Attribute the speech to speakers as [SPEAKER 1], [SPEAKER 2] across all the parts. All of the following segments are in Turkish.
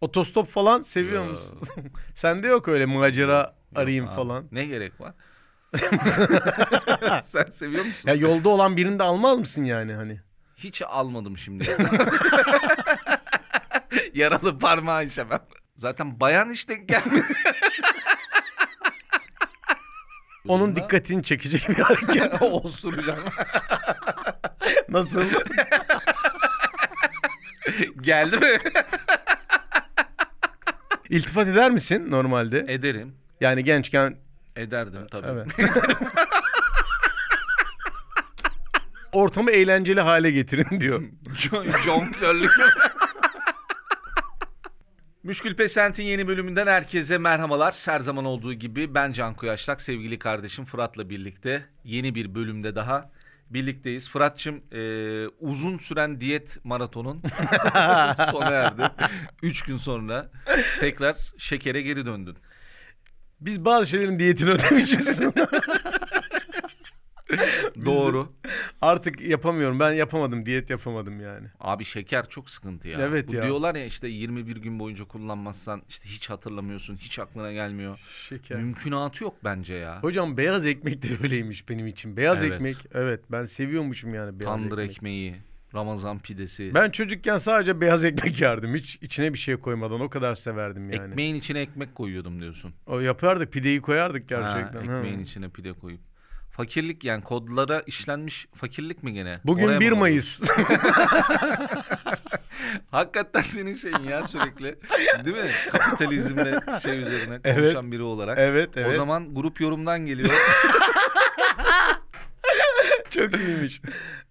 [SPEAKER 1] Otostop falan seviyor
[SPEAKER 2] Yo.
[SPEAKER 1] musun? Sende yok öyle macera arayayım
[SPEAKER 2] Yok abi.
[SPEAKER 1] falan.
[SPEAKER 2] Ne gerek var? Sen seviyor musun?
[SPEAKER 1] Ya yolda olan birini de almaz mısın yani hani?
[SPEAKER 2] Hiç almadım şimdi. Yaralı parmağı işemem. Zaten bayan hiç denk gelmedi.
[SPEAKER 1] Onun dikkatini çekecek bir hareket.
[SPEAKER 2] Osuracağım.
[SPEAKER 1] Nasıl?
[SPEAKER 2] Geldi mi?
[SPEAKER 1] İltifat eder misin normalde?
[SPEAKER 2] Ederim.
[SPEAKER 1] Yani gençken
[SPEAKER 2] Ederdim tabii.
[SPEAKER 1] Evet. ortamı eğlenceli hale getirin diyor.
[SPEAKER 2] Jon- Jonglörlük. Müşkül Pesent'in yeni bölümünden herkese merhabalar. Her zaman olduğu gibi ben Can Kuyaşlak, sevgili kardeşim Fırat'la birlikte yeni bir bölümde daha birlikteyiz. Fırat'cığım eee, uzun süren diyet maratonun sona erdi. Üç gün sonra tekrar şekere geri döndün.
[SPEAKER 1] Biz bazı şeylerin diyetini ödemişiz.
[SPEAKER 2] Doğru.
[SPEAKER 1] Artık yapamıyorum. Ben yapamadım. Diyet yapamadım yani.
[SPEAKER 2] Abi şeker çok sıkıntı ya.
[SPEAKER 1] Evet
[SPEAKER 2] Bu
[SPEAKER 1] ya.
[SPEAKER 2] Diyorlar ya işte 21 gün boyunca kullanmazsan işte hiç hatırlamıyorsun, hiç aklına gelmiyor.
[SPEAKER 1] Şeker.
[SPEAKER 2] Mümkünatı yok bence ya.
[SPEAKER 1] Hocam beyaz ekmek de öyleymiş benim için. Beyaz
[SPEAKER 2] Evet.
[SPEAKER 1] ekmek. Evet ben seviyormuşum yani beyaz
[SPEAKER 2] Tandır
[SPEAKER 1] ekmek.
[SPEAKER 2] ekmeği, Ramazan pidesi.
[SPEAKER 1] Ben çocukken sadece beyaz ekmek yerdim. Hiç içine bir şey koymadan o kadar severdim yani.
[SPEAKER 2] Ekmeğin içine ekmek koyuyordum diyorsun.
[SPEAKER 1] O yapardık pideyi koyardık
[SPEAKER 2] Ha,
[SPEAKER 1] gerçekten. Ha.
[SPEAKER 2] ekmeğin içine pide koyup. Fakirlik yani kodlara işlenmiş fakirlik mi gene?
[SPEAKER 1] Bugün
[SPEAKER 2] Oraya mı
[SPEAKER 1] 1
[SPEAKER 2] vurdun?
[SPEAKER 1] Mayıs.
[SPEAKER 2] Hakikaten senin şeyin ya sürekli. Değil mi? Kapitalizmle şey üzerine konuşan biri olarak.
[SPEAKER 1] evet evet.
[SPEAKER 2] O zaman grup yorumdan geliyor.
[SPEAKER 1] çok iyiymiş.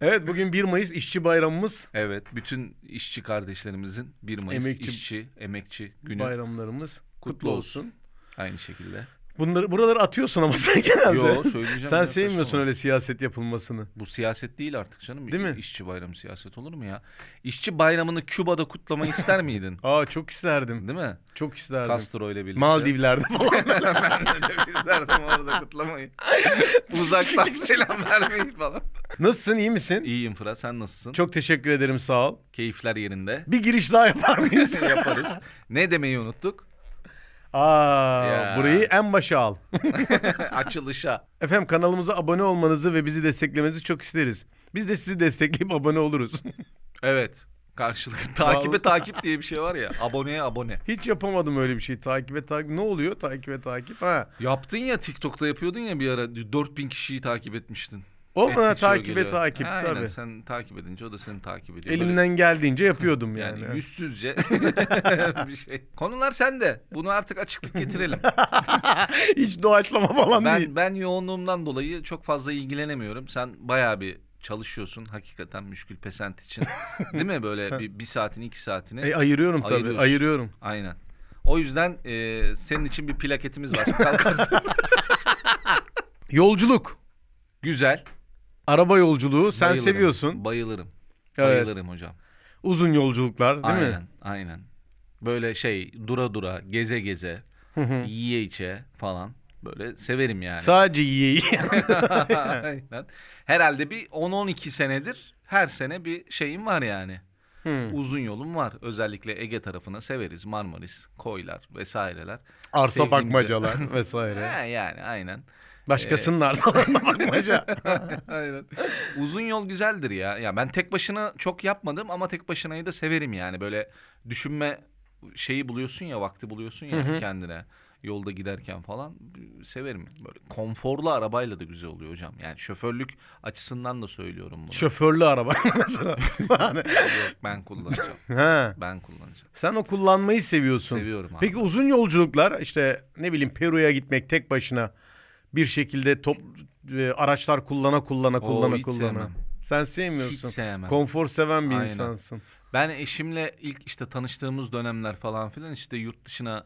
[SPEAKER 1] Evet bugün 1 Mayıs işçi bayramımız.
[SPEAKER 2] evet. Bütün işçi kardeşlerimizin 1 Mayıs
[SPEAKER 1] Emekçi-
[SPEAKER 2] işçi, emekçi günü
[SPEAKER 1] Bayramlarımız kutlu, olsun.
[SPEAKER 2] Aynı şekilde.
[SPEAKER 1] Bunları buraları atıyorsun ama sen genelde.
[SPEAKER 2] Yo söyleyeceğim.
[SPEAKER 1] Sen
[SPEAKER 2] ya,
[SPEAKER 1] sevmiyorsun
[SPEAKER 2] saçmalama.
[SPEAKER 1] öyle siyaset yapılmasını.
[SPEAKER 2] Bu siyaset değil artık canım.
[SPEAKER 1] Değil mi?
[SPEAKER 2] İşçi bayramı siyaset olur mu ya? İşçi bayramını Küba'da kutlamayı ister miydin?
[SPEAKER 1] Aa çok isterdim.
[SPEAKER 2] Değil mi?
[SPEAKER 1] Çok isterdim.
[SPEAKER 2] Castro ile birlikte.
[SPEAKER 1] Maldivler'de falan.
[SPEAKER 2] ben de çok isterdim orada kutlamayı. Uzaktan selam vermeyi falan.
[SPEAKER 1] Nasılsın iyi misin?
[SPEAKER 2] İyiyim Fırat sen nasılsın?
[SPEAKER 1] Çok teşekkür ederim sağ ol.
[SPEAKER 2] Keyifler yerinde.
[SPEAKER 1] Bir giriş daha yapar mıyız?
[SPEAKER 2] Yaparız. Ne demeyi unuttuk?
[SPEAKER 1] Aa,
[SPEAKER 2] Ya.
[SPEAKER 1] burayı en başa al.
[SPEAKER 2] Açılışa.
[SPEAKER 1] Efendim kanalımıza abone olmanızı ve bizi desteklemenizi çok isteriz. Biz de sizi destekleyip abone oluruz.
[SPEAKER 2] Evet. Karşılık. Takibe
[SPEAKER 1] Vallahi-
[SPEAKER 2] takip diye bir şey var ya. Aboneye abone.
[SPEAKER 1] Hiç yapamadım öyle bir şey. Takibe takip. Ne oluyor? Takibe takip. Ha.
[SPEAKER 2] Yaptın ya TikTok'ta yapıyordun ya bir ara 4000 kişiyi takip etmiştin.
[SPEAKER 1] O bana
[SPEAKER 2] Ettikçe o
[SPEAKER 1] takibe
[SPEAKER 2] geliyor.
[SPEAKER 1] takip
[SPEAKER 2] Aynen,
[SPEAKER 1] tabii.
[SPEAKER 2] sen takip edince o da seni takip ediyor. Böyle
[SPEAKER 1] Elimden geldiğince yapıyordum yani.
[SPEAKER 2] Yani yüzsüzce bir şey. Konular sende. Bunu artık açıklık getirelim.
[SPEAKER 1] Hiç doğaçlama falan değil.
[SPEAKER 2] ben ben yoğunluğumdan dolayı çok fazla ilgilenemiyorum. Sen bayağı bir çalışıyorsun hakikaten müşkül pesent için. Değil mi böyle bir, bir saatini iki saatini?
[SPEAKER 1] E, ayırıyorum tabii.
[SPEAKER 2] Ayırıyorsun.
[SPEAKER 1] Ayırıyorum.
[SPEAKER 2] Aynen. O yüzden e, senin için bir plaketimiz var. Kalkarsın.
[SPEAKER 1] Yolculuk.
[SPEAKER 2] Güzel.
[SPEAKER 1] Araba yolculuğu. Sen
[SPEAKER 2] Bayılırım.
[SPEAKER 1] seviyorsun.
[SPEAKER 2] Bayılırım.
[SPEAKER 1] Evet.
[SPEAKER 2] Bayılırım hocam.
[SPEAKER 1] Uzun yolculuklar değil
[SPEAKER 2] aynen,
[SPEAKER 1] mi?
[SPEAKER 2] aynen. Böyle şey dura dura, geze geze, yiye içe falan. Böyle severim yani.
[SPEAKER 1] Sadece yiyeyi.
[SPEAKER 2] Aynen. Herhalde bir 10-12 senedir her sene bir şeyim var yani.
[SPEAKER 1] Hmm.
[SPEAKER 2] Uzun yolum var. Özellikle Ege tarafına severiz. Marmaris, koylar vesaireler.
[SPEAKER 1] Arsa
[SPEAKER 2] Sevdiğimize-
[SPEAKER 1] bakmacalar vesaire. Ee,
[SPEAKER 2] Ha, yani aynen.
[SPEAKER 1] Başkasının arsalarına bakmaca.
[SPEAKER 2] aynen. Uzun yol güzeldir ya. Ya ben tek başına çok yapmadım ama tek başınayı da severim yani. Böyle düşünme şeyi buluyorsun ya, vakti buluyorsun ya kendine. Yolda giderken falan severim. Böyle konforlu arabayla da güzel oluyor hocam. Yani şoförlük açısından da söylüyorum bunu.
[SPEAKER 1] Şoförlü araba mesela. Yani,
[SPEAKER 2] Yok ben kullanacağım.
[SPEAKER 1] ha.
[SPEAKER 2] Ben kullanacağım.
[SPEAKER 1] Sen o kullanmayı seviyorsun.
[SPEAKER 2] Seviyorum abi.
[SPEAKER 1] Peki uzun yolculuklar işte ne bileyim Peru'ya gitmek tek başına bir şekilde top e, araçlar kullana kullana kullana
[SPEAKER 2] hiç
[SPEAKER 1] kullana.
[SPEAKER 2] sevmem.
[SPEAKER 1] Sen sevmiyorsun.
[SPEAKER 2] Hiç sevmem.
[SPEAKER 1] Konfor seven bir
[SPEAKER 2] Aynen.
[SPEAKER 1] insansın.
[SPEAKER 2] Ben eşimle ilk işte tanıştığımız dönemler falan filan işte yurt dışına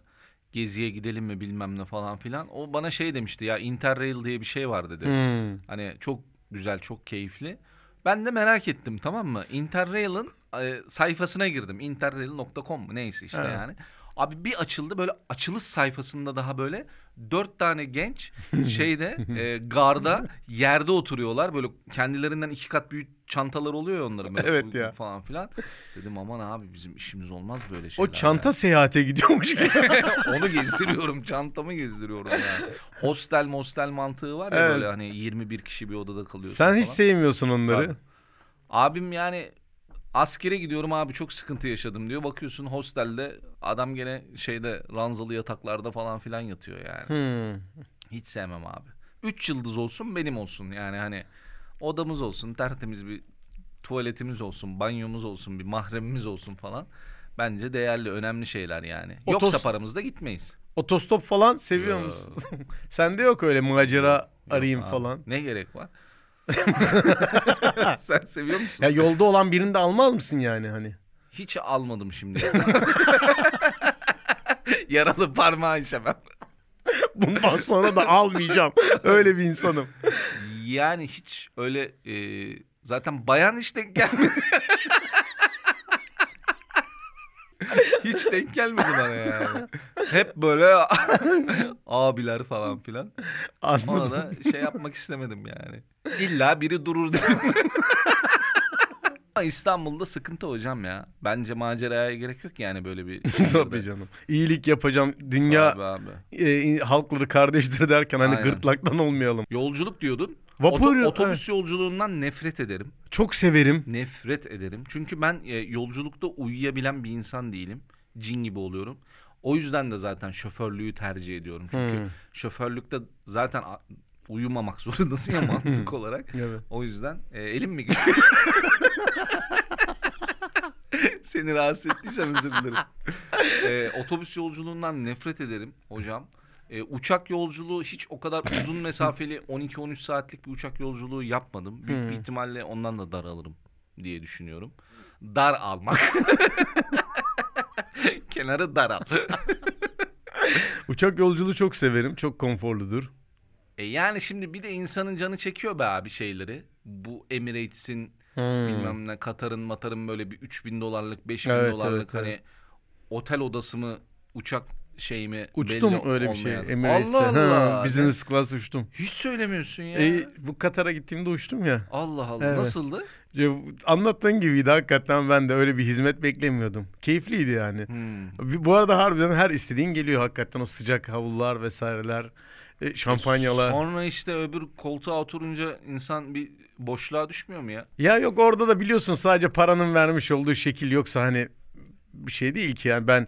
[SPEAKER 2] geziye gidelim mi bilmem ne falan filan. O bana şey demişti ya Interrail diye bir şey var dedi.
[SPEAKER 1] Hmm.
[SPEAKER 2] Hani çok güzel, çok keyifli. Ben de merak ettim tamam mı? Interrail'in e, sayfasına girdim. Interrail.com mu neyse işte
[SPEAKER 1] Ha.
[SPEAKER 2] yani. Abi bir açıldı böyle açılış sayfasında daha böyle dört tane genç şeyde e, garda yerde oturuyorlar. Böyle kendilerinden iki kat büyük çantalar oluyor ya onların. böyle
[SPEAKER 1] Evet
[SPEAKER 2] uygun
[SPEAKER 1] ya.
[SPEAKER 2] Falan filan. Dedim aman abi bizim işimiz olmaz böyle şeyler.
[SPEAKER 1] O çanta seyahate gidiyormuş gibi.
[SPEAKER 2] Onu gezdiriyorum. Çantamı gezdiriyorum yani. Hostel mostel mantığı var ya
[SPEAKER 1] Evet.
[SPEAKER 2] böyle hani 21 kişi bir odada kalıyorsun
[SPEAKER 1] Sen hiç
[SPEAKER 2] falan.
[SPEAKER 1] sevmiyorsun onları.
[SPEAKER 2] Abi. Abim yani askere gidiyorum abi çok sıkıntı yaşadım diyor. Bakıyorsun hostelde adam gene şeyde ranzalı yataklarda falan filan yatıyor yani.
[SPEAKER 1] Hmm.
[SPEAKER 2] Hiç sevmem abi. Üç yıldız olsun benim olsun yani hani odamız olsun tertemiz bir tuvaletimiz olsun banyomuz olsun bir mahremimiz olsun falan. Bence değerli önemli şeyler yani.
[SPEAKER 1] Otos-
[SPEAKER 2] Yoksa paramızda gitmeyiz.
[SPEAKER 1] Otostop falan seviyor
[SPEAKER 2] Yo.
[SPEAKER 1] musun? Sende yok öyle macera arayayım
[SPEAKER 2] Yok abi.
[SPEAKER 1] falan.
[SPEAKER 2] Ne gerek var? Sen seviyor musun?
[SPEAKER 1] Ya yolda olan birini de almaz mısın yani hani?
[SPEAKER 2] Hiç almadım şimdi. Yaralı parmağı işemem.
[SPEAKER 1] Bundan sonra da almayacağım. Öyle bir insanım.
[SPEAKER 2] Yani hiç öyle e, zaten bayan hiç denk gelmedi. hiç denk gelmedi bana yani. Hep böyle abiler falan filan. Ona
[SPEAKER 1] Anladım.
[SPEAKER 2] da şey yapmak istemedim yani. İlla biri durur dedim. Ama İstanbul'da sıkıntı hocam ya. Bence maceraya gerek yok yani böyle bir.
[SPEAKER 1] Tabii canım. İyilik yapacağım. Dünya
[SPEAKER 2] Abi, abi.
[SPEAKER 1] e, in- halkları kardeştir derken hani
[SPEAKER 2] Aynen.
[SPEAKER 1] gırtlaktan olmayalım.
[SPEAKER 2] Yolculuk diyordun.
[SPEAKER 1] Vapur,
[SPEAKER 2] Oto-
[SPEAKER 1] evet.
[SPEAKER 2] otobüs yolculuğundan nefret ederim.
[SPEAKER 1] Çok severim.
[SPEAKER 2] Nefret ederim. Çünkü ben e, yolculukta uyuyabilen bir insan değilim. Cin gibi oluyorum. O yüzden de zaten şoförlüğü tercih ediyorum. Çünkü
[SPEAKER 1] Hmm.
[SPEAKER 2] şoförlükte zaten a- uyumamak zorundasın ya mantık
[SPEAKER 1] Hmm.
[SPEAKER 2] olarak.
[SPEAKER 1] Evet.
[SPEAKER 2] O yüzden e, elim mi gidiyor? Seni rahatsız ettiysem özür dilerim. E, otobüs yolculuğundan nefret ederim hocam. E, uçak yolculuğu hiç o kadar uzun mesafeli 12-13 saatlik bir uçak yolculuğu yapmadım. Büyük bir ihtimalle ondan da dar alırım diye düşünüyorum. Dar almak. Kenarı dar al.
[SPEAKER 1] Uçak yolculuğu çok severim. Çok konforludur.
[SPEAKER 2] E, yani şimdi bir de insanın canı çekiyor be abi şeyleri. Bu Emirates'in bilmem ne Katar'ın Matar'ın böyle bir 3000 dolarlık 5000
[SPEAKER 1] Hmm. Evet,
[SPEAKER 2] dolarlık
[SPEAKER 1] evet,
[SPEAKER 2] hani
[SPEAKER 1] evet.
[SPEAKER 2] otel odası mı uçak şey mi
[SPEAKER 1] Uçtum
[SPEAKER 2] belli
[SPEAKER 1] öyle bir şey.
[SPEAKER 2] olmayan.
[SPEAKER 1] Emirates'te.
[SPEAKER 2] Allah Allah.
[SPEAKER 1] Ha, Business class uçtum.
[SPEAKER 2] Hiç söylemiyorsun ya.
[SPEAKER 1] E, bu Katar'a gittiğimde uçtum ya.
[SPEAKER 2] Allah Allah
[SPEAKER 1] Evet.
[SPEAKER 2] nasıldı?
[SPEAKER 1] Ya, Anlattığın gibiydi hakikaten ben de öyle bir hizmet beklemiyordum. Keyifliydi yani.
[SPEAKER 2] Hmm.
[SPEAKER 1] Bu arada harbiden her istediğin geliyor hakikaten o sıcak havlular vesaireler, e, şampanyalar.
[SPEAKER 2] Sonra işte öbür koltuğa oturunca insan bir boşluğa düşmüyor mu ya?
[SPEAKER 1] Ya yok orada da biliyorsun sadece paranın vermiş olduğu şekil yoksa hani bir şey değil ki yani ben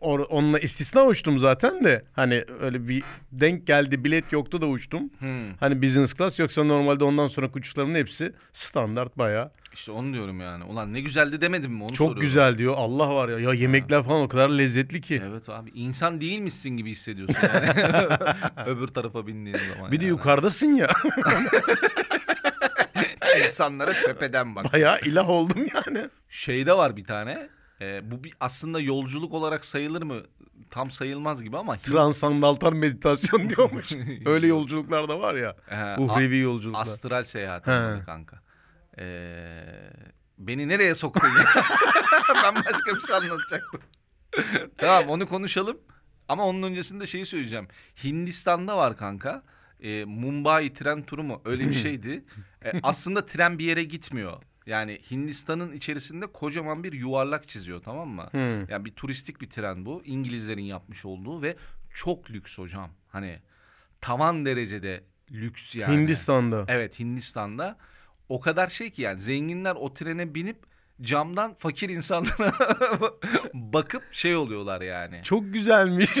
[SPEAKER 1] or- onunla istisna uçtum zaten de hani öyle bir denk geldi bilet yoktu da uçtum.
[SPEAKER 2] Hmm.
[SPEAKER 1] Hani business class yoksa normalde ondan sonraki uçuşların hepsi standart bayağı.
[SPEAKER 2] İşte onu diyorum yani. Ulan ne güzeldi demedim mi onu
[SPEAKER 1] Çok
[SPEAKER 2] soruyorum.
[SPEAKER 1] güzel diyor. Allah var ya. Ya yemekler falan o kadar lezzetli ki.
[SPEAKER 2] Evet abi insan değilmişsin gibi hissediyorsun yani. öbür tarafa bindiğin zaman.
[SPEAKER 1] Bir de
[SPEAKER 2] yani.
[SPEAKER 1] yukarıdasın ya.
[SPEAKER 2] insanlara tepeden bak.
[SPEAKER 1] Bayağı ilah oldum yani.
[SPEAKER 2] Şeyde var bir tane. Ee, bu bir aslında yolculuk olarak sayılır mı? Tam sayılmaz gibi ama Hint-
[SPEAKER 1] Transandantal meditasyon diyormuş. Öyle yolculuklar da var ya.
[SPEAKER 2] Ee, a-
[SPEAKER 1] Uhrevi yolculuklar.
[SPEAKER 2] astral seyahat
[SPEAKER 1] He.
[SPEAKER 2] anladı kanka. Ee, beni nereye soktun ya? ben başka bir şey anlatacaktım. tamam onu konuşalım. Ama onun öncesinde şeyi söyleyeceğim. Hindistan'da var kanka. Ee, Mumbai tren turu mu? Öyle bir şeydi. Ee, aslında tren bir yere gitmiyor. Yani Hindistan'ın içerisinde kocaman bir yuvarlak çiziyor tamam mı?
[SPEAKER 1] Hmm.
[SPEAKER 2] Yani bir turistik bir tren bu. İngilizlerin yapmış olduğu ve çok lüks hocam. Hani tavan derecede lüks yani.
[SPEAKER 1] Hindistan'da.
[SPEAKER 2] Evet Hindistan'da. O kadar şey ki yani zenginler o trene binip camdan fakir insanlara bakıp şey oluyorlar yani.
[SPEAKER 1] Çok güzelmiş.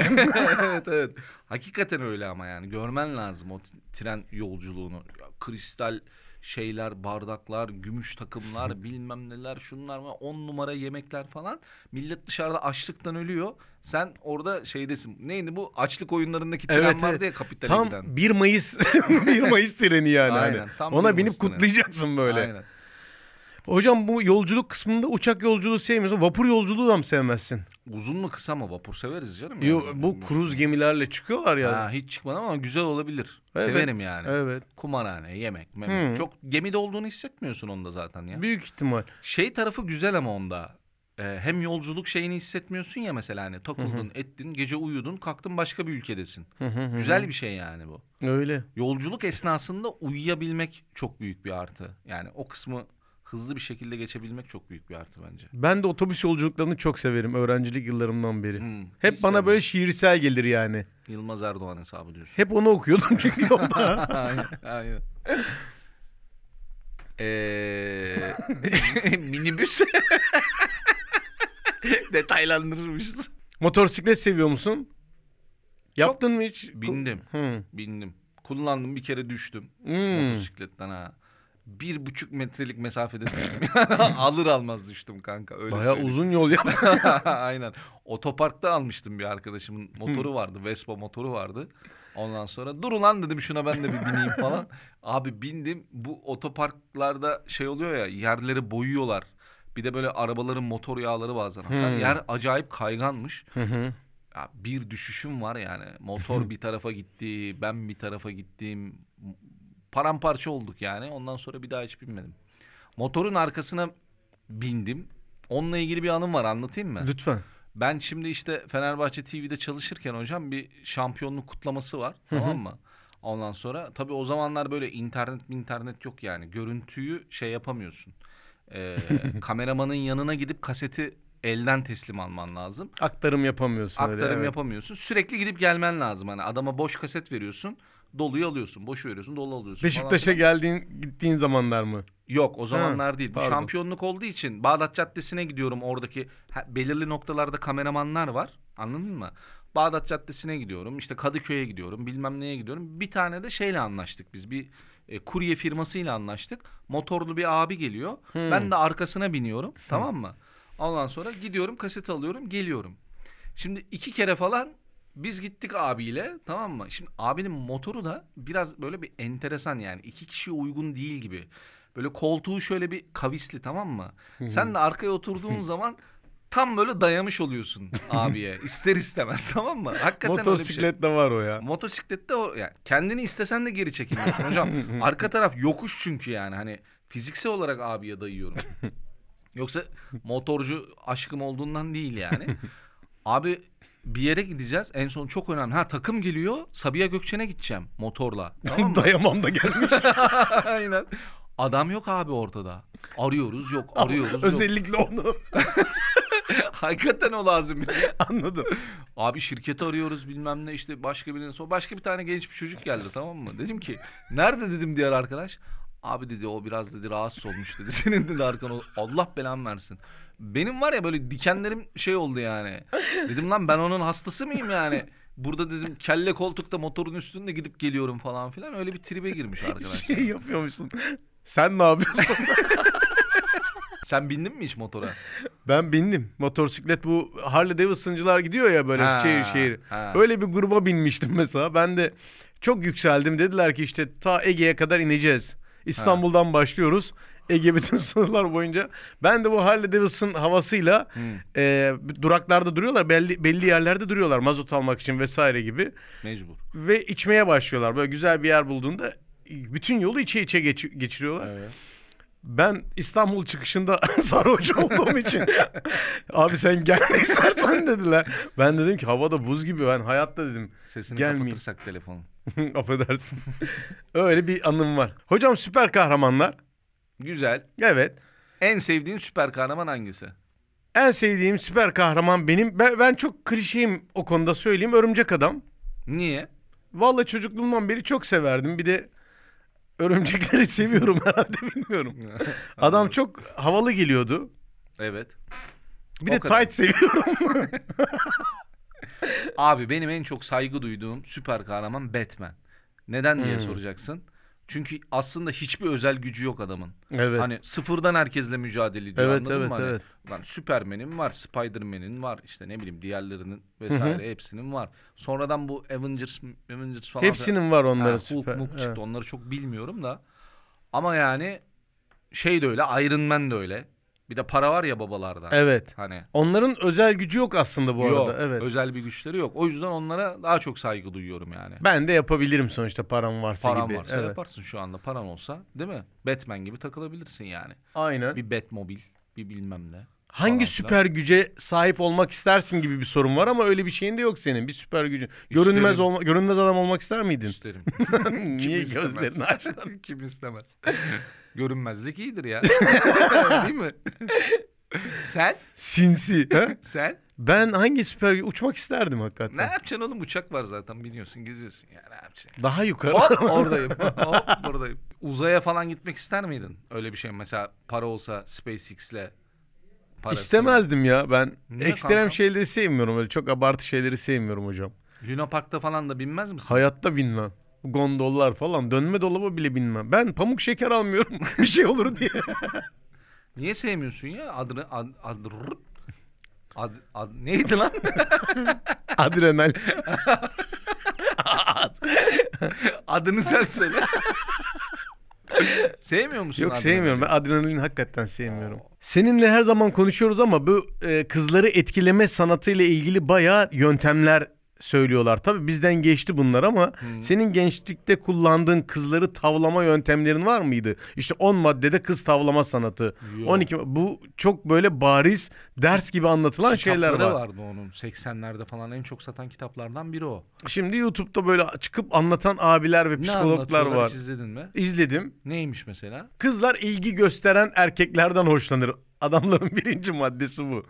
[SPEAKER 2] evet evet. Hakikaten öyle ama yani görmen lazım o t- tren yolculuğunu. Ya, kristal şeyler, bardaklar, gümüş takımlar, bilmem neler, şunlar var. On numara yemekler falan. Millet dışarıda açlıktan ölüyor. Sen orada şeydesin. Neydi bu? Açlık oyunlarındaki tren
[SPEAKER 1] Evet,
[SPEAKER 2] vardı
[SPEAKER 1] evet.
[SPEAKER 2] ya kapitale giden.
[SPEAKER 1] tam 1 Mayıs 1 Mayıs treni yani.
[SPEAKER 2] Aynen,
[SPEAKER 1] hani.
[SPEAKER 2] tam 1
[SPEAKER 1] Ona
[SPEAKER 2] Mayıs
[SPEAKER 1] binip
[SPEAKER 2] treni.
[SPEAKER 1] kutlayacaksın böyle.
[SPEAKER 2] Aynen.
[SPEAKER 1] Hocam bu yolculuk kısmında uçak yolculuğu sevmiyorsun. Vapur yolculuğu da mı sevmezsin?
[SPEAKER 2] Uzun mu kısa mı? Vapur severiz canım.
[SPEAKER 1] Yo,
[SPEAKER 2] yani.
[SPEAKER 1] bu kruz gemilerle çıkıyorlar ya.
[SPEAKER 2] Ha, hiç çıkmadım ama güzel olabilir.
[SPEAKER 1] Evet,
[SPEAKER 2] Severim yani.
[SPEAKER 1] Evet.
[SPEAKER 2] Kumarhane, yemek, memek.
[SPEAKER 1] Hı.
[SPEAKER 2] Çok gemide olduğunu hissetmiyorsun onda zaten ya.
[SPEAKER 1] Büyük ihtimal.
[SPEAKER 2] Şey tarafı güzel ama onda. e, hem yolculuk şeyini hissetmiyorsun ya mesela hani takıldın ettin gece uyudun kalktın başka bir ülkedesin. Güzel bir şey yani bu.
[SPEAKER 1] Öyle.
[SPEAKER 2] Yolculuk esnasında uyuyabilmek çok büyük bir artı. Yani o kısmı hızlı bir şekilde geçebilmek çok büyük bir artı bence.
[SPEAKER 1] Ben de otobüs yolculuklarını çok severim öğrencilik yıllarımdan beri.
[SPEAKER 2] Hmm,
[SPEAKER 1] Hep
[SPEAKER 2] hiç
[SPEAKER 1] bana
[SPEAKER 2] sevmem.
[SPEAKER 1] böyle şiirsel gelir yani.
[SPEAKER 2] Yılmaz Erdoğan hesabı diyorsun.
[SPEAKER 1] Hep onu okuyordum çünkü yolda.
[SPEAKER 2] aynen. aynen. Ee, minibüs. Detaylandırırmışız.
[SPEAKER 1] Motosiklet seviyor musun? Yaptın mı hiç?
[SPEAKER 2] Bindim.
[SPEAKER 1] Hı.
[SPEAKER 2] Bindim. Kullandım bir kere düştüm.
[SPEAKER 1] Hmm.
[SPEAKER 2] Motosikletten ha. Bir buçuk metrelik mesafede düştüm. Alır almaz düştüm kanka. Öyle
[SPEAKER 1] Baya
[SPEAKER 2] söyleyeyim.
[SPEAKER 1] uzun yol yaptın.
[SPEAKER 2] Aynen. Otoparkta almıştım bir arkadaşımın motoru vardı. Vespa motoru vardı. Ondan sonra dur ulan dedim şuna ben de bir bineyim falan. Abi bindim. Bu otoparklarda şey oluyor ya yerleri boyuyorlar. Bir de böyle arabaların motor yağları bazen. atar.
[SPEAKER 1] Hmm.
[SPEAKER 2] Yer acayip kayganmış.
[SPEAKER 1] Hı hı.
[SPEAKER 2] Ya bir düşüşüm var yani. Motor bir tarafa gitti, ben bir tarafa gittim. Paramparça olduk yani. Ondan sonra bir daha hiç binmedim. Motorun arkasına bindim. Onunla ilgili bir anım var anlatayım mı?
[SPEAKER 1] Lütfen.
[SPEAKER 2] Ben şimdi işte Fenerbahçe TV'de çalışırken hocam bir şampiyonluk kutlaması var. Tamam mı? Ondan sonra tabii o zamanlar böyle internet internet yok yani. Görüntüyü şey yapamıyorsun. Ee, kameramanın yanına gidip kaseti elden teslim alman lazım.
[SPEAKER 1] Aktarım yapamıyorsun. öyle,
[SPEAKER 2] Aktarım
[SPEAKER 1] evet.
[SPEAKER 2] yapamıyorsun. Sürekli gidip gelmen lazım. Hani adama boş kaset veriyorsun. Doluyu alıyorsun. Boşu veriyorsun. Dolu alıyorsun. falan
[SPEAKER 1] Beşiktaş'a geldiğin gittiğin zamanlar mı?
[SPEAKER 2] Yok o zamanlar değil. Bu
[SPEAKER 1] pardon.
[SPEAKER 2] şampiyonluk olduğu için Bağdat Caddesi'ne gidiyorum. Oradaki ha- belirli noktalarda kameramanlar var. Anladın mı? Bağdat Caddesi'ne gidiyorum. işte Kadıköy'e gidiyorum. Bilmem neye gidiyorum. Bir tane de şeyle anlaştık biz. Bir e, kurye firmasıyla anlaştık. Motorlu bir abi geliyor. Ben de arkasına biniyorum. Tamam mı? Ondan sonra gidiyorum kaset alıyorum geliyorum. Şimdi iki kere falan biz gittik abiyle tamam mı? Şimdi abinin motoru da biraz böyle bir enteresan yani iki kişiye uygun değil gibi. Böyle koltuğu şöyle bir kavisli tamam mı? Sen de arkaya oturduğun zaman tam böyle dayamış oluyorsun abiye ister istemez tamam mı? Hakikaten öyle bir şey.
[SPEAKER 1] Motosiklet de var o ya.
[SPEAKER 2] Motosiklette o yani kendini istesen de geri çekilmiyorsun hocam. Arka taraf yokuş çünkü yani hani fiziksel olarak abiye dayıyorum. Yoksa motorcu aşkım olduğundan değil yani. Abi bir yere gideceğiz. En son çok önemli. Ha takım geliyor. Sabiha Gökçen'e gideceğim motorla. Tamam mı?
[SPEAKER 1] Dayamam da gelmiş.
[SPEAKER 2] Aynen. Adam yok abi ortada. Arıyoruz yok, arıyoruz yok.
[SPEAKER 1] Özellikle onu
[SPEAKER 2] Hakikaten o lazım.
[SPEAKER 1] anladım.
[SPEAKER 2] Abi şirketi arıyoruz bilmem ne işte başka birinin sonra başka bir tane genç bir çocuk geldi tamam mı? Dedim ki nerede dedim diğer arkadaş. Abi dedi o biraz dedi rahatsız olmuş dedi. Senin dedi arkan ol- Allah belanı versin. Benim var ya böyle dikenlerim şey oldu yani. Dedim lan ben onun hastası mıyım yani? Burada dedim kelle koltukta motorun üstünde gidip geliyorum falan filan. Öyle bir tribe girmiş arkadaş.
[SPEAKER 1] Şey yapıyormuşsun. Sen ne yapıyorsun?
[SPEAKER 2] Sen bindin mi hiç motora?
[SPEAKER 1] ben bindim. Motosiklet bu Harley Davidson'cılar gidiyor ya böyle
[SPEAKER 2] Ha,
[SPEAKER 1] şehir şehir.
[SPEAKER 2] ha.
[SPEAKER 1] Öyle bir gruba binmiştim mesela. Ben de çok yükseldim. Dediler ki işte ta Ege'ye kadar ineceğiz. İstanbul'dan başlıyoruz. Ege bütün sınırlar boyunca. Ben de bu Harley Davidson havasıyla e, duraklarda duruyorlar. Belli, belli yerlerde duruyorlar mazot almak için vesaire gibi.
[SPEAKER 2] Mecbur.
[SPEAKER 1] ve içmeye başlıyorlar. Böyle güzel bir yer bulduğunda bütün yolu içe içe geç- geçiriyorlar.
[SPEAKER 2] Evet.
[SPEAKER 1] Ben İstanbul çıkışında sarhoş olduğum için abi sen gelme istersen dediler. Ben dedim ki havada buz gibi ben hayatta dedim.
[SPEAKER 2] Sesini
[SPEAKER 1] Gelmeyin.
[SPEAKER 2] kapatırsak telefonu.
[SPEAKER 1] Affedersin. Öyle bir anım var. Hocam süper kahramanlar.
[SPEAKER 2] Güzel.
[SPEAKER 1] Evet.
[SPEAKER 2] En sevdiğin süper kahraman hangisi?
[SPEAKER 1] En sevdiğim süper kahraman benim. Ben, ben çok klişeyim o konuda söyleyeyim. Örümcek adam.
[SPEAKER 2] Niye?
[SPEAKER 1] Vallahi çocukluğumdan beri çok severdim. Bir de örümcekleri seviyorum herhalde bilmiyorum. Adam çok havalı geliyordu.
[SPEAKER 2] Evet.
[SPEAKER 1] Bir
[SPEAKER 2] O
[SPEAKER 1] de
[SPEAKER 2] kadar.
[SPEAKER 1] tight seviyorum.
[SPEAKER 2] Abi benim en çok saygı duyduğum süper kahraman Batman. Neden
[SPEAKER 1] Hmm.
[SPEAKER 2] diye soracaksın. Çünkü aslında hiçbir özel gücü yok adamın.
[SPEAKER 1] Evet.
[SPEAKER 2] Hani sıfırdan herkesle mücadele ediyor
[SPEAKER 1] Evet,
[SPEAKER 2] anladın
[SPEAKER 1] evet,
[SPEAKER 2] mı? Hani,
[SPEAKER 1] evet.
[SPEAKER 2] Lan Superman'in var, Spider-Man'in var, işte ne bileyim diğerlerinin vesaire hepsinin var. Sonradan bu Avengers, Avengers falan.
[SPEAKER 1] Hepsinin var
[SPEAKER 2] Ha,
[SPEAKER 1] onların
[SPEAKER 2] Hulk,
[SPEAKER 1] süper.
[SPEAKER 2] Hulk çıktı
[SPEAKER 1] evet.
[SPEAKER 2] onları çok bilmiyorum da. Ama yani şey de öyle, Iron Man de öyle. Bir de para var ya babalarda.
[SPEAKER 1] Evet.
[SPEAKER 2] Hani
[SPEAKER 1] Onların özel gücü yok aslında bu
[SPEAKER 2] yok,
[SPEAKER 1] arada. Evet.
[SPEAKER 2] özel bir güçleri yok. O yüzden onlara daha çok saygı duyuyorum yani.
[SPEAKER 1] Ben de yapabilirim sonuçta param varsa
[SPEAKER 2] Paran
[SPEAKER 1] gibi.
[SPEAKER 2] varsa
[SPEAKER 1] Evet.
[SPEAKER 2] yaparsın şu anda paran olsa değil mi? Batman gibi takılabilirsin yani.
[SPEAKER 1] Aynen.
[SPEAKER 2] Bir Batmobil bir bilmem ne.
[SPEAKER 1] Hangi
[SPEAKER 2] falan
[SPEAKER 1] süper güce sahip olmak istersin gibi bir sorun var ama öyle bir şeyin de yok senin. Bir süper gücün. Görünmez
[SPEAKER 2] İsterim.
[SPEAKER 1] olma, görünmez adam olmak ister miydin?
[SPEAKER 2] İsterim.
[SPEAKER 1] Niye
[SPEAKER 2] istemez?
[SPEAKER 1] gözlerini açtın?
[SPEAKER 2] Kim istemez? Görünmezlik iyidir ya. Değil mi? sen?
[SPEAKER 1] Sinsi. ha?
[SPEAKER 2] Sen?
[SPEAKER 1] ben hangi süper gü- uçmak isterdim hakikaten.
[SPEAKER 2] Ne yapacaksın oğlum? Uçak var zaten biliyorsun. Geziyorsun ya ne yapacaksın?
[SPEAKER 1] Daha yukarı.
[SPEAKER 2] Hop oradayım. Hop buradayım. Uzaya falan gitmek ister miydin? Öyle bir şey mesela para olsa SpaceX'le parası.
[SPEAKER 1] İstemezdim ya ben.
[SPEAKER 2] Niye
[SPEAKER 1] ekstrem
[SPEAKER 2] kanka?
[SPEAKER 1] şeyleri sevmiyorum öyle çok abartı şeyleri sevmiyorum hocam.
[SPEAKER 2] Luna Park'ta falan da binmez misin?
[SPEAKER 1] Hayatta binmem. Gondollar falan dönme dolaba bile binmem. Ben pamuk şeker almıyorum bir şey olur diye.
[SPEAKER 2] Niye sevmiyorsun ya? Adını ad, ad, rrrt. ad, ad- neydi lan?
[SPEAKER 1] Adrenal.
[SPEAKER 2] Adını sen söyle. Sevmiyor musun?
[SPEAKER 1] Yok
[SPEAKER 2] adını?
[SPEAKER 1] sevmiyorum ben adrenalin hakikaten sevmiyorum. Seninle her zaman konuşuyoruz ama bu e, kızları etkileme sanatıyla ilgili bayağı yöntemler söylüyorlar. Tabii bizden geçti bunlar ama senin gençlikte kullandığın kızları tavlama yöntemlerin var mıydı? İşte 10 maddede kız tavlama sanatı.
[SPEAKER 2] Yok.
[SPEAKER 1] 12 ma- bu çok böyle bariz ders gibi anlatılan şeyler
[SPEAKER 2] Kitapları
[SPEAKER 1] var.
[SPEAKER 2] vardı onun 80'lerde falan en çok satan kitaplardan biri o.
[SPEAKER 1] Şimdi YouTube'da böyle çıkıp anlatan abiler ve
[SPEAKER 2] Ne
[SPEAKER 1] psikologlar
[SPEAKER 2] anlatıyorlar,
[SPEAKER 1] var.
[SPEAKER 2] hiç izledin mi?
[SPEAKER 1] İzledim.
[SPEAKER 2] Neymiş mesela?
[SPEAKER 1] Kızlar ilgi gösteren erkeklerden hoşlanır. Adamların birinci maddesi bu.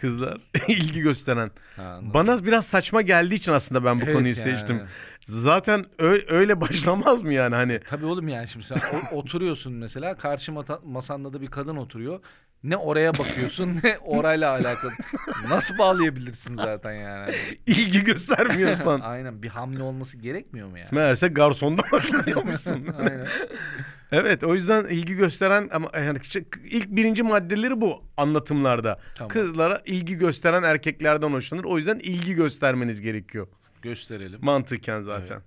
[SPEAKER 1] Kızlar ilgi gösteren.
[SPEAKER 2] Ha, anladım.
[SPEAKER 1] Bana biraz saçma geldiği için aslında ben bu
[SPEAKER 2] Evet
[SPEAKER 1] konuyu
[SPEAKER 2] yani.
[SPEAKER 1] seçtim. Zaten ö- öyle başlamaz mı yani hani?
[SPEAKER 2] Tabii oğlum yani şimdi sen o- oturuyorsun mesela karşı mata- masanda da bir kadın oturuyor. Ne oraya bakıyorsun ne orayla alakalı. Nasıl bağlayabilirsin zaten yani?
[SPEAKER 1] ilgi göstermiyorsan.
[SPEAKER 2] Aynen bir hamle olması gerekmiyor mu yani?
[SPEAKER 1] Meğerse garsondan hoşlanıyormuşsun.
[SPEAKER 2] Aynen.
[SPEAKER 1] evet o yüzden ilgi gösteren ama yani ç- ilk birinci maddeleri bu anlatımlarda.
[SPEAKER 2] Tamam.
[SPEAKER 1] Kızlara ilgi gösteren erkeklerden hoşlanır. O yüzden ilgi göstermeniz gerekiyor.
[SPEAKER 2] Gösterelim.
[SPEAKER 1] Mantıken zaten.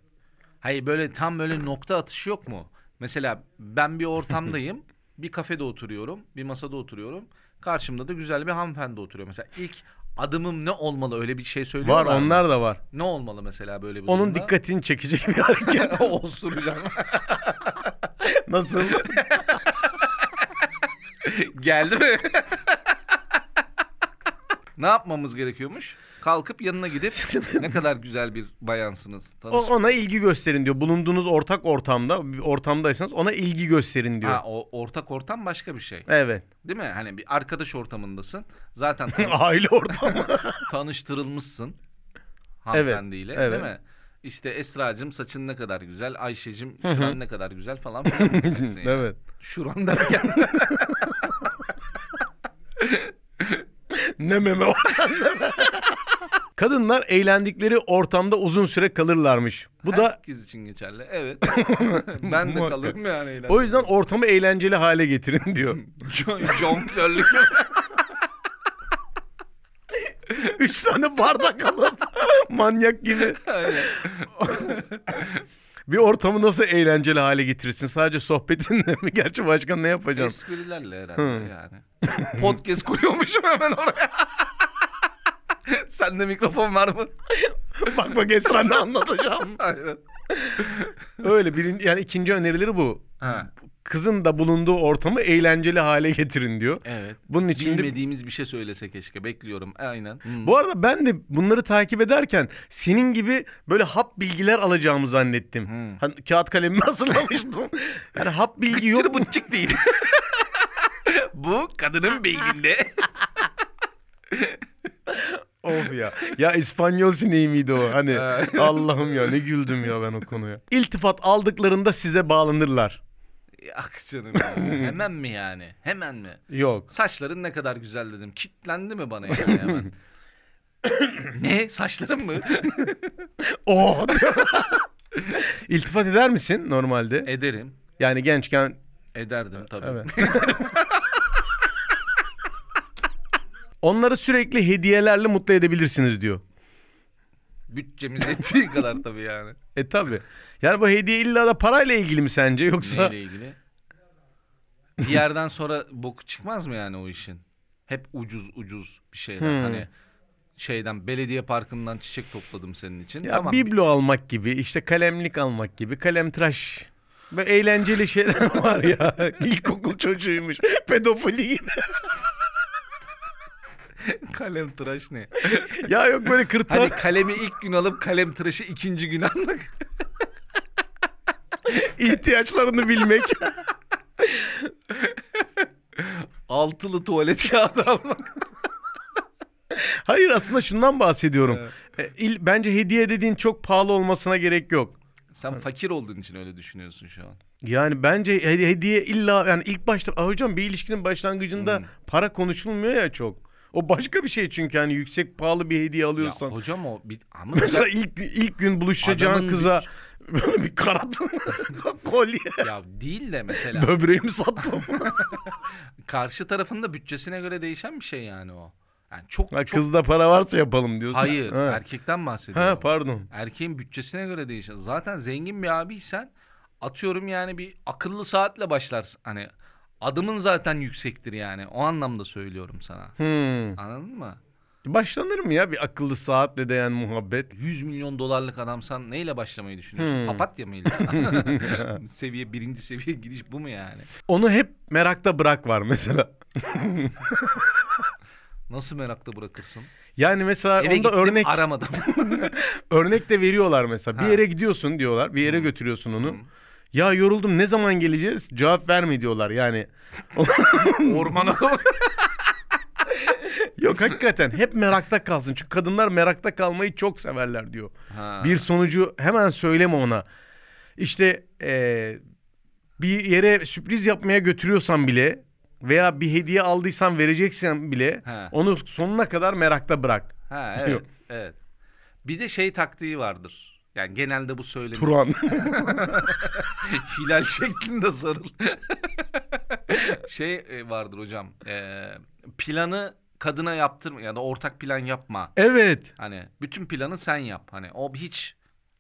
[SPEAKER 2] Hayır böyle tam böyle nokta atışı yok mu? Mesela ben bir ortamdayım. bir kafede oturuyorum. Bir masada oturuyorum. Karşımda da güzel bir hanımefendi oturuyor. Mesela ilk adımım ne olmalı? Öyle bir şey
[SPEAKER 1] Var
[SPEAKER 2] söylüyorlar mı?
[SPEAKER 1] onlar da var.
[SPEAKER 2] Ne olmalı mesela böyle bir
[SPEAKER 1] Onun
[SPEAKER 2] durumda?
[SPEAKER 1] dikkatini çekecek bir hareket.
[SPEAKER 2] Osuracağım.
[SPEAKER 1] Nasıl?
[SPEAKER 2] Geldi mi? ne yapmamız gerekiyormuş? Kalkıp yanına gidip ne kadar güzel bir bayansınız.
[SPEAKER 1] O,
[SPEAKER 2] Tanış.
[SPEAKER 1] ona ilgi gösterin diyor. Bulunduğunuz ortak ortamda, bir ortamdaysanız ona ilgi gösterin diyor.
[SPEAKER 2] Ha, o ortak ortam başka bir şey.
[SPEAKER 1] Evet.
[SPEAKER 2] Değil mi? Hani bir arkadaş ortamındasın. Zaten tan-
[SPEAKER 1] Aile ortamı.
[SPEAKER 2] tanıştırılmışsın hanımefendiyle.
[SPEAKER 1] evet.
[SPEAKER 2] Değil mi? İşte Esra'cığım saçın ne kadar güzel, Ayşe'cim şuran ne kadar güzel falan filan diyeceksin yani.
[SPEAKER 1] evet.
[SPEAKER 2] Şuran derken
[SPEAKER 1] Ne meme var sende? Kadınlar eğlendikleri ortamda uzun süre kalırlarmış. Bu da
[SPEAKER 2] herkes için geçerli. Evet. ben de
[SPEAKER 1] Muhakkak.
[SPEAKER 2] kalırım yani eğlenceli.
[SPEAKER 1] o yüzden ortamı eğlenceli hale getirin diyor.
[SPEAKER 2] Jon- jonglörlük.
[SPEAKER 1] Üç tane bardak alıp manyak gibi.
[SPEAKER 2] Aynen.
[SPEAKER 1] Bir ortamı nasıl eğlenceli hale getirirsin? Sadece sohbetinle mi? Gerçi başka ne yapacaksın?
[SPEAKER 2] Esprilerle herhalde yani. Podcast kuruyormuşum hemen oraya. Sende mikrofon var mı?
[SPEAKER 1] bak bak Esra ne anlatacağım.
[SPEAKER 2] Aynen.
[SPEAKER 1] Öyle birin, yani ikinci önerileri bu.
[SPEAKER 2] Ha.
[SPEAKER 1] Kızın da bulunduğu ortamı eğlenceli hale getirin diyor.
[SPEAKER 2] Evet.
[SPEAKER 1] Bunun için de-
[SPEAKER 2] Bilmediğimiz bir şey söylese keşke. Bekliyorum. Aynen. Hmm.
[SPEAKER 1] Bu arada ben de bunları takip ederken senin gibi böyle hap bilgiler alacağımı zannettim.
[SPEAKER 2] Hmm.
[SPEAKER 1] Hani kağıt kalemimi hazırlamıştım. yani hap bilgi yok.
[SPEAKER 2] Çıtır buncuk değil. Bu kadının beyninde.
[SPEAKER 1] Of ya. Ya İspanyol sineği miydi o? Hani
[SPEAKER 2] Evet.
[SPEAKER 1] Allah'ım ya ne güldüm ya ben o konuya. İltifat aldıklarında size bağlanırlar.
[SPEAKER 2] Yak Ah canım. ya. Hemen mi yani? Hemen mi?
[SPEAKER 1] Yok.
[SPEAKER 2] Saçların ne kadar güzel dedim. Kitlendi mi bana yani hemen? ne? Saçlarım mı?
[SPEAKER 1] Oo. Oh! İltifat eder misin normalde?
[SPEAKER 2] Ederim.
[SPEAKER 1] Yani gençken
[SPEAKER 2] Ederdim tabii.
[SPEAKER 1] Evet. Onları sürekli hediyelerle mutlu edebilirsiniz diyor.
[SPEAKER 2] Bütçemiz ettiği kadar tabii yani.
[SPEAKER 1] E tabi. Yani bu hediye illa da parayla ilgili mi sence yoksa?
[SPEAKER 2] Neyle ilgili? Bir yerden sonra bok çıkmaz mı yani o işin? Hep ucuz ucuz bir şeyler.
[SPEAKER 1] Hmm.
[SPEAKER 2] Hani şeyden belediye parkından çiçek topladım senin için.
[SPEAKER 1] Ya
[SPEAKER 2] tamam.
[SPEAKER 1] biblo almak gibi, işte kalemlik almak gibi, kalem tıraş. Böyle eğlenceli şeyler var ya. İlkokul çocuğuymuş. Pedofili gibi.
[SPEAKER 2] kalem tıraş ne?
[SPEAKER 1] ya yok böyle
[SPEAKER 2] Hani
[SPEAKER 1] kırtasiye.
[SPEAKER 2] kalemi ilk gün alıp kalem tıraşı ikinci gün almak.
[SPEAKER 1] ihtiyaçlarını bilmek.
[SPEAKER 2] Altılı tuvalet kağıdı almak.
[SPEAKER 1] Hayır aslında şundan bahsediyorum. E, il- bence hediye dediğin çok pahalı olmasına gerek yok.
[SPEAKER 2] Sen fakir olduğun için öyle düşünüyorsun şu an.
[SPEAKER 1] Yani bence hedi- hediye illa yani ilk başta Aa, hocam bir ilişkinin başlangıcında
[SPEAKER 2] Hmm.
[SPEAKER 1] para konuşulmuyor ya çok. O başka bir şey çünkü hani yüksek pahalı bir hediye alıyorsan.
[SPEAKER 2] Ya hocam o bir ama
[SPEAKER 1] Mesela ilk ilk gün buluşacağın
[SPEAKER 2] Adamın
[SPEAKER 1] kıza böyle bir karatın kolye
[SPEAKER 2] ya değil de mesela
[SPEAKER 1] böbreğimi sattım.
[SPEAKER 2] karşı tarafın da bütçesine göre değişen bir şey yani o. Yani çok
[SPEAKER 1] Ha,
[SPEAKER 2] çok
[SPEAKER 1] Kızda para varsa yapalım diyorsun.
[SPEAKER 2] hayır
[SPEAKER 1] Ha.
[SPEAKER 2] erkekten bahsediyorum.
[SPEAKER 1] ha pardon.
[SPEAKER 2] Erkeğin bütçesine göre değişir. Zaten zengin bir abiysen atıyorum yani bir akıllı saatle başlarsın. Hani adımın zaten yüksektir yani. O anlamda söylüyorum sana.
[SPEAKER 1] Hmm.
[SPEAKER 2] Anladın mı?
[SPEAKER 1] Başlanır mı ya bir akıllı saatle değen muhabbet?
[SPEAKER 2] 100 milyon dolarlık adamsan neyle başlamayı düşünüyorsun?
[SPEAKER 1] Hmm.
[SPEAKER 2] Papatya mıyla? seviye birinci seviye gidiş bu mu yani?
[SPEAKER 1] Onu hep merakta bırak var mesela.
[SPEAKER 2] Nasıl merakta bırakırsın?
[SPEAKER 1] Yani mesela
[SPEAKER 2] Eve
[SPEAKER 1] onda
[SPEAKER 2] gittim
[SPEAKER 1] örnek
[SPEAKER 2] aramadım.
[SPEAKER 1] örnek de veriyorlar mesela. Bir
[SPEAKER 2] Ha.
[SPEAKER 1] yere gidiyorsun diyorlar. Bir yere götürüyorsun onu. Ya yoruldum ne zaman geleceğiz? Cevap verme diyorlar yani.
[SPEAKER 2] Ormana doğru.
[SPEAKER 1] Yok hakikaten hep merakta kalsın. Çünkü kadınlar merakta kalmayı çok severler diyor.
[SPEAKER 2] Ha.
[SPEAKER 1] Bir sonucu hemen söyleme ona. İşte eee, bir yere sürpriz yapmaya götürüyorsan bile veya bir hediye aldıysan vereceksen bile
[SPEAKER 2] Ha.
[SPEAKER 1] onu sonuna kadar merakta bırak.
[SPEAKER 2] Ha evet.
[SPEAKER 1] şey Yok.
[SPEAKER 2] Evet. Bir de şey taktiği vardır. Yani genelde bu söylenir.
[SPEAKER 1] Turan.
[SPEAKER 2] Hilal şeklinde sarıl. şey e, vardır hocam. e, planı kadına yaptırma ya da ortak plan yapma.
[SPEAKER 1] evet.
[SPEAKER 2] Hani bütün planı sen yap. Hani o hiç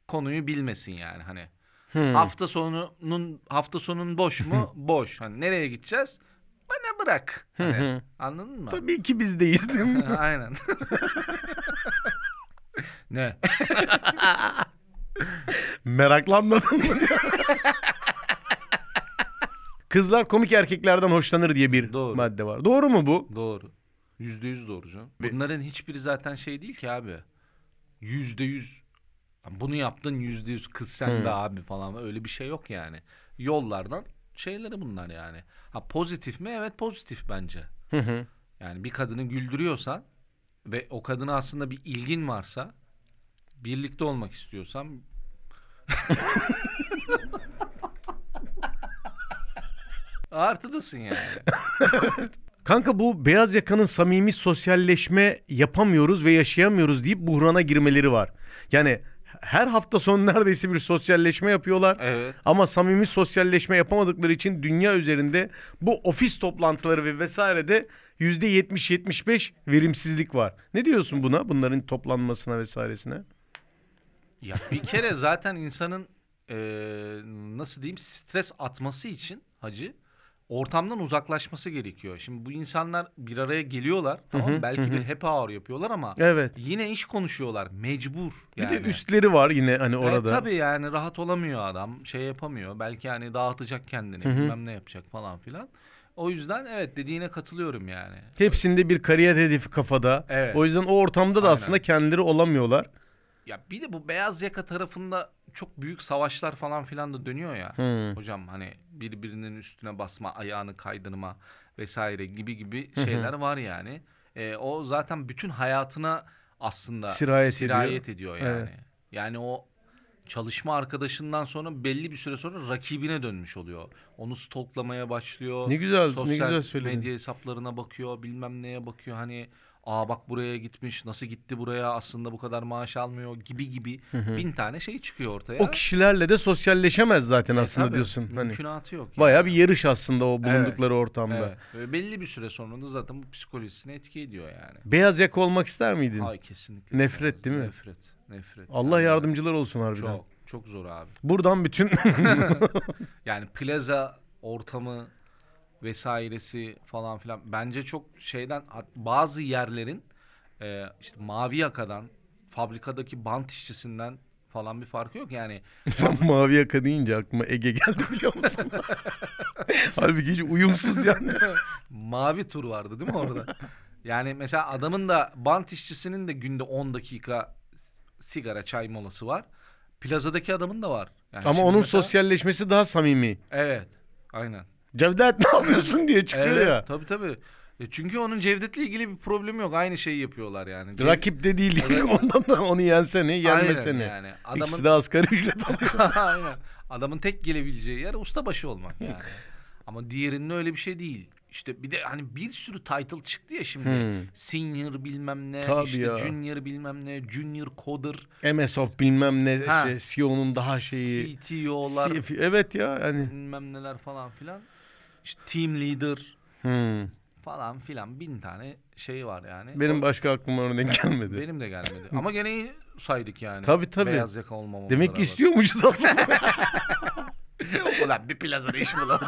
[SPEAKER 2] konuyu bilmesin yani hani.
[SPEAKER 1] Hmm.
[SPEAKER 2] Hafta sonunun hafta sonun boş mu? boş. Hani nereye gideceğiz? Bana bırak. Hani,
[SPEAKER 1] hı.
[SPEAKER 2] anladın mı?
[SPEAKER 1] Tabii ki biz deyiz değil mi?
[SPEAKER 2] Aynen. ne?
[SPEAKER 1] Meraklanmadın mı? Kızlar komik erkeklerden hoşlanır diye bir
[SPEAKER 2] Doğru.
[SPEAKER 1] madde var. Doğru mu bu?
[SPEAKER 2] Doğru. Yüzde yüz doğru canım. Bunların hiçbiri zaten şey değil ki abi. Yüzde yüz. Lan Bunu yaptın yüzde yüz kız sen de abi falan. Öyle bir şey yok yani. Yollardan şeyleri bunlar yani. Ha pozitif mi? Evet pozitif bence.
[SPEAKER 1] Hı hı.
[SPEAKER 2] Yani bir kadını güldürüyorsan ve o kadına aslında bir ilgin varsa birlikte olmak istiyorsan artıdasın yani.
[SPEAKER 1] Kanka bu beyaz yakanın samimi sosyalleşme yapamıyoruz ve yaşayamıyoruz deyip buhrana girmeleri var. Yani her hafta sonu neredeyse bir sosyalleşme yapıyorlar.
[SPEAKER 2] Evet.
[SPEAKER 1] Ama samimi sosyalleşme yapamadıkları için dünya üzerinde bu ofis toplantıları ve vesairede %70-75 verimsizlik var. Ne diyorsun buna? Bunların toplanmasına vesairesine?
[SPEAKER 2] Ya bir kere zaten insanın eee, nasıl diyeyim stres atması için hacı ortamdan uzaklaşması gerekiyor. Şimdi bu insanlar bir araya geliyorlar tamam mı? belki bir happy hour yapıyorlar ama
[SPEAKER 1] Evet.
[SPEAKER 2] yine iş konuşuyorlar mecbur yani.
[SPEAKER 1] Bir de üstleri var yine hani
[SPEAKER 2] Evet,
[SPEAKER 1] orada.
[SPEAKER 2] tabii yani rahat olamıyor adam şey yapamıyor belki hani dağıtacak kendini bilmem ne yapacak falan filan. O yüzden evet dediğine katılıyorum yani.
[SPEAKER 1] Hepsinde bir kariyer hedefi kafada.
[SPEAKER 2] Evet.
[SPEAKER 1] O yüzden o ortamda da
[SPEAKER 2] Aynen.
[SPEAKER 1] aslında kendileri olamıyorlar.
[SPEAKER 2] Ya bir de bu beyaz yaka tarafında çok büyük savaşlar falan filan da dönüyor ya.
[SPEAKER 1] Hı.
[SPEAKER 2] Hocam hani birbirinin üstüne basma, ayağını kaydırma vesaire gibi gibi şeyler var yani. E, o zaten bütün hayatına aslında
[SPEAKER 1] Sirayet
[SPEAKER 2] ediyor,
[SPEAKER 1] Evet.
[SPEAKER 2] yani. Yani o çalışma arkadaşından sonra belli bir süre sonra rakibine dönmüş oluyor. Onu stalklamaya başlıyor.
[SPEAKER 1] Ne güzel- ne
[SPEAKER 2] Sosyal
[SPEAKER 1] güzel söyledin.
[SPEAKER 2] medya hesaplarına bakıyor, bilmem neye bakıyor. Hani aa bak buraya gitmiş, nasıl gitti buraya aslında bu kadar maaş almıyor gibi gibi bin tane şey çıkıyor ortaya.
[SPEAKER 1] O kişilerle de sosyalleşemez zaten aslında
[SPEAKER 2] E, Tabii,
[SPEAKER 1] diyorsun. Hani
[SPEAKER 2] Mümkünatı yok. yani.
[SPEAKER 1] bayağı bir yarış aslında o bulundukları ortamda.
[SPEAKER 2] Evet. Ve belli bir süre sonra da zaten bu psikolojisine etki ediyor yani.
[SPEAKER 1] Beyaz yaka olmak ister miydin?
[SPEAKER 2] Ay kesinlikle.
[SPEAKER 1] Nefret
[SPEAKER 2] zor.
[SPEAKER 1] değil mi?
[SPEAKER 2] Nefret. Nefret.
[SPEAKER 1] Allah
[SPEAKER 2] Yani
[SPEAKER 1] yardımcılar olsun harbiden.
[SPEAKER 2] Çok çok zor abi.
[SPEAKER 1] Buradan bütün
[SPEAKER 2] Yani plaza ortamı vesairesi falan filan bence çok şeyden hat- bazı yerlerin e, işte mavi yakadan fabrikadaki bant işçisinden falan bir farkı yok yani.
[SPEAKER 1] Sen mavi yaka deyince aklıma Ege geldi biliyor musun? Halbuki hiç uyumsuz yani.
[SPEAKER 2] Mavi tur vardı değil mi orada? Yani mesela adamın da bant işçisinin de günde 10 dakika sigara çay molası var. Plazadaki adamın da var. Yani
[SPEAKER 1] Ama
[SPEAKER 2] şimdi
[SPEAKER 1] onun
[SPEAKER 2] mesela-
[SPEAKER 1] sosyalleşmesi daha samimi.
[SPEAKER 2] Evet. Aynen.
[SPEAKER 1] Cevdet ne yapıyorsun diye çıkıyor
[SPEAKER 2] Evet,
[SPEAKER 1] ya.
[SPEAKER 2] Tabii tabii. E çünkü onun Cevdet'le ilgili bir problemi yok. Aynı şeyi yapıyorlar yani. Cev-
[SPEAKER 1] Rakip de değil. Ondan da onu yensene, yenmesene.
[SPEAKER 2] Aynen yani.
[SPEAKER 1] İkisi
[SPEAKER 2] Adamın,
[SPEAKER 1] de asgari ücret alıyor.
[SPEAKER 2] Aynen. Adamın tek gelebileceği yer ustabaşı olmak yani. Ama diğerinin öyle bir şey değil. İşte bir de hani bir sürü title çıktı ya şimdi.
[SPEAKER 1] Hmm.
[SPEAKER 2] Senior bilmem ne,
[SPEAKER 1] Tabii
[SPEAKER 2] işte
[SPEAKER 1] ya.
[SPEAKER 2] junior bilmem ne, junior coder,
[SPEAKER 1] MS of bilmem ne
[SPEAKER 2] Ha.
[SPEAKER 1] şey, CEO'nun daha şeyi.
[SPEAKER 2] CTO'lar
[SPEAKER 1] CF evet ya yani.
[SPEAKER 2] bilmem neler falan filan. İşte team leader
[SPEAKER 1] Hmm.
[SPEAKER 2] falan filan bin tane şey var yani.
[SPEAKER 1] Benim
[SPEAKER 2] O-
[SPEAKER 1] başka aklıma örnek gelmedi.
[SPEAKER 2] Benim de gelmedi. Ama gene iyi saydık yani.
[SPEAKER 1] Tabii, tabii.
[SPEAKER 2] Beyaz yaka olmamamla
[SPEAKER 1] Demek ki
[SPEAKER 2] beraber.
[SPEAKER 1] istiyormuşuz aslında.
[SPEAKER 2] Ulan bir plazada iş bulamadım.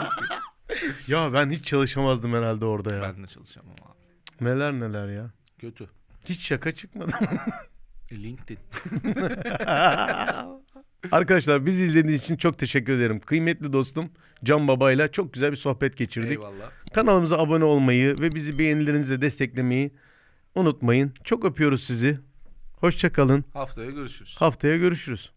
[SPEAKER 1] ya ben hiç çalışamazdım herhalde orada ya.
[SPEAKER 2] ben de çalışacağım ama. abi.
[SPEAKER 1] Neler neler ya.
[SPEAKER 2] Kötü.
[SPEAKER 1] Hiç şaka çıkmadı.
[SPEAKER 2] E, LinkedIn.
[SPEAKER 1] Arkadaşlar bizi izlediğiniz için çok teşekkür ederim. Kıymetli dostum Can Baba'yla çok güzel bir sohbet geçirdik.
[SPEAKER 2] Eyvallah.
[SPEAKER 1] Kanalımıza abone olmayı ve bizi beğenilerinizle desteklemeyi unutmayın. Çok öpüyoruz sizi. Hoşçakalın.
[SPEAKER 2] Haftaya görüşürüz.
[SPEAKER 1] Haftaya görüşürüz.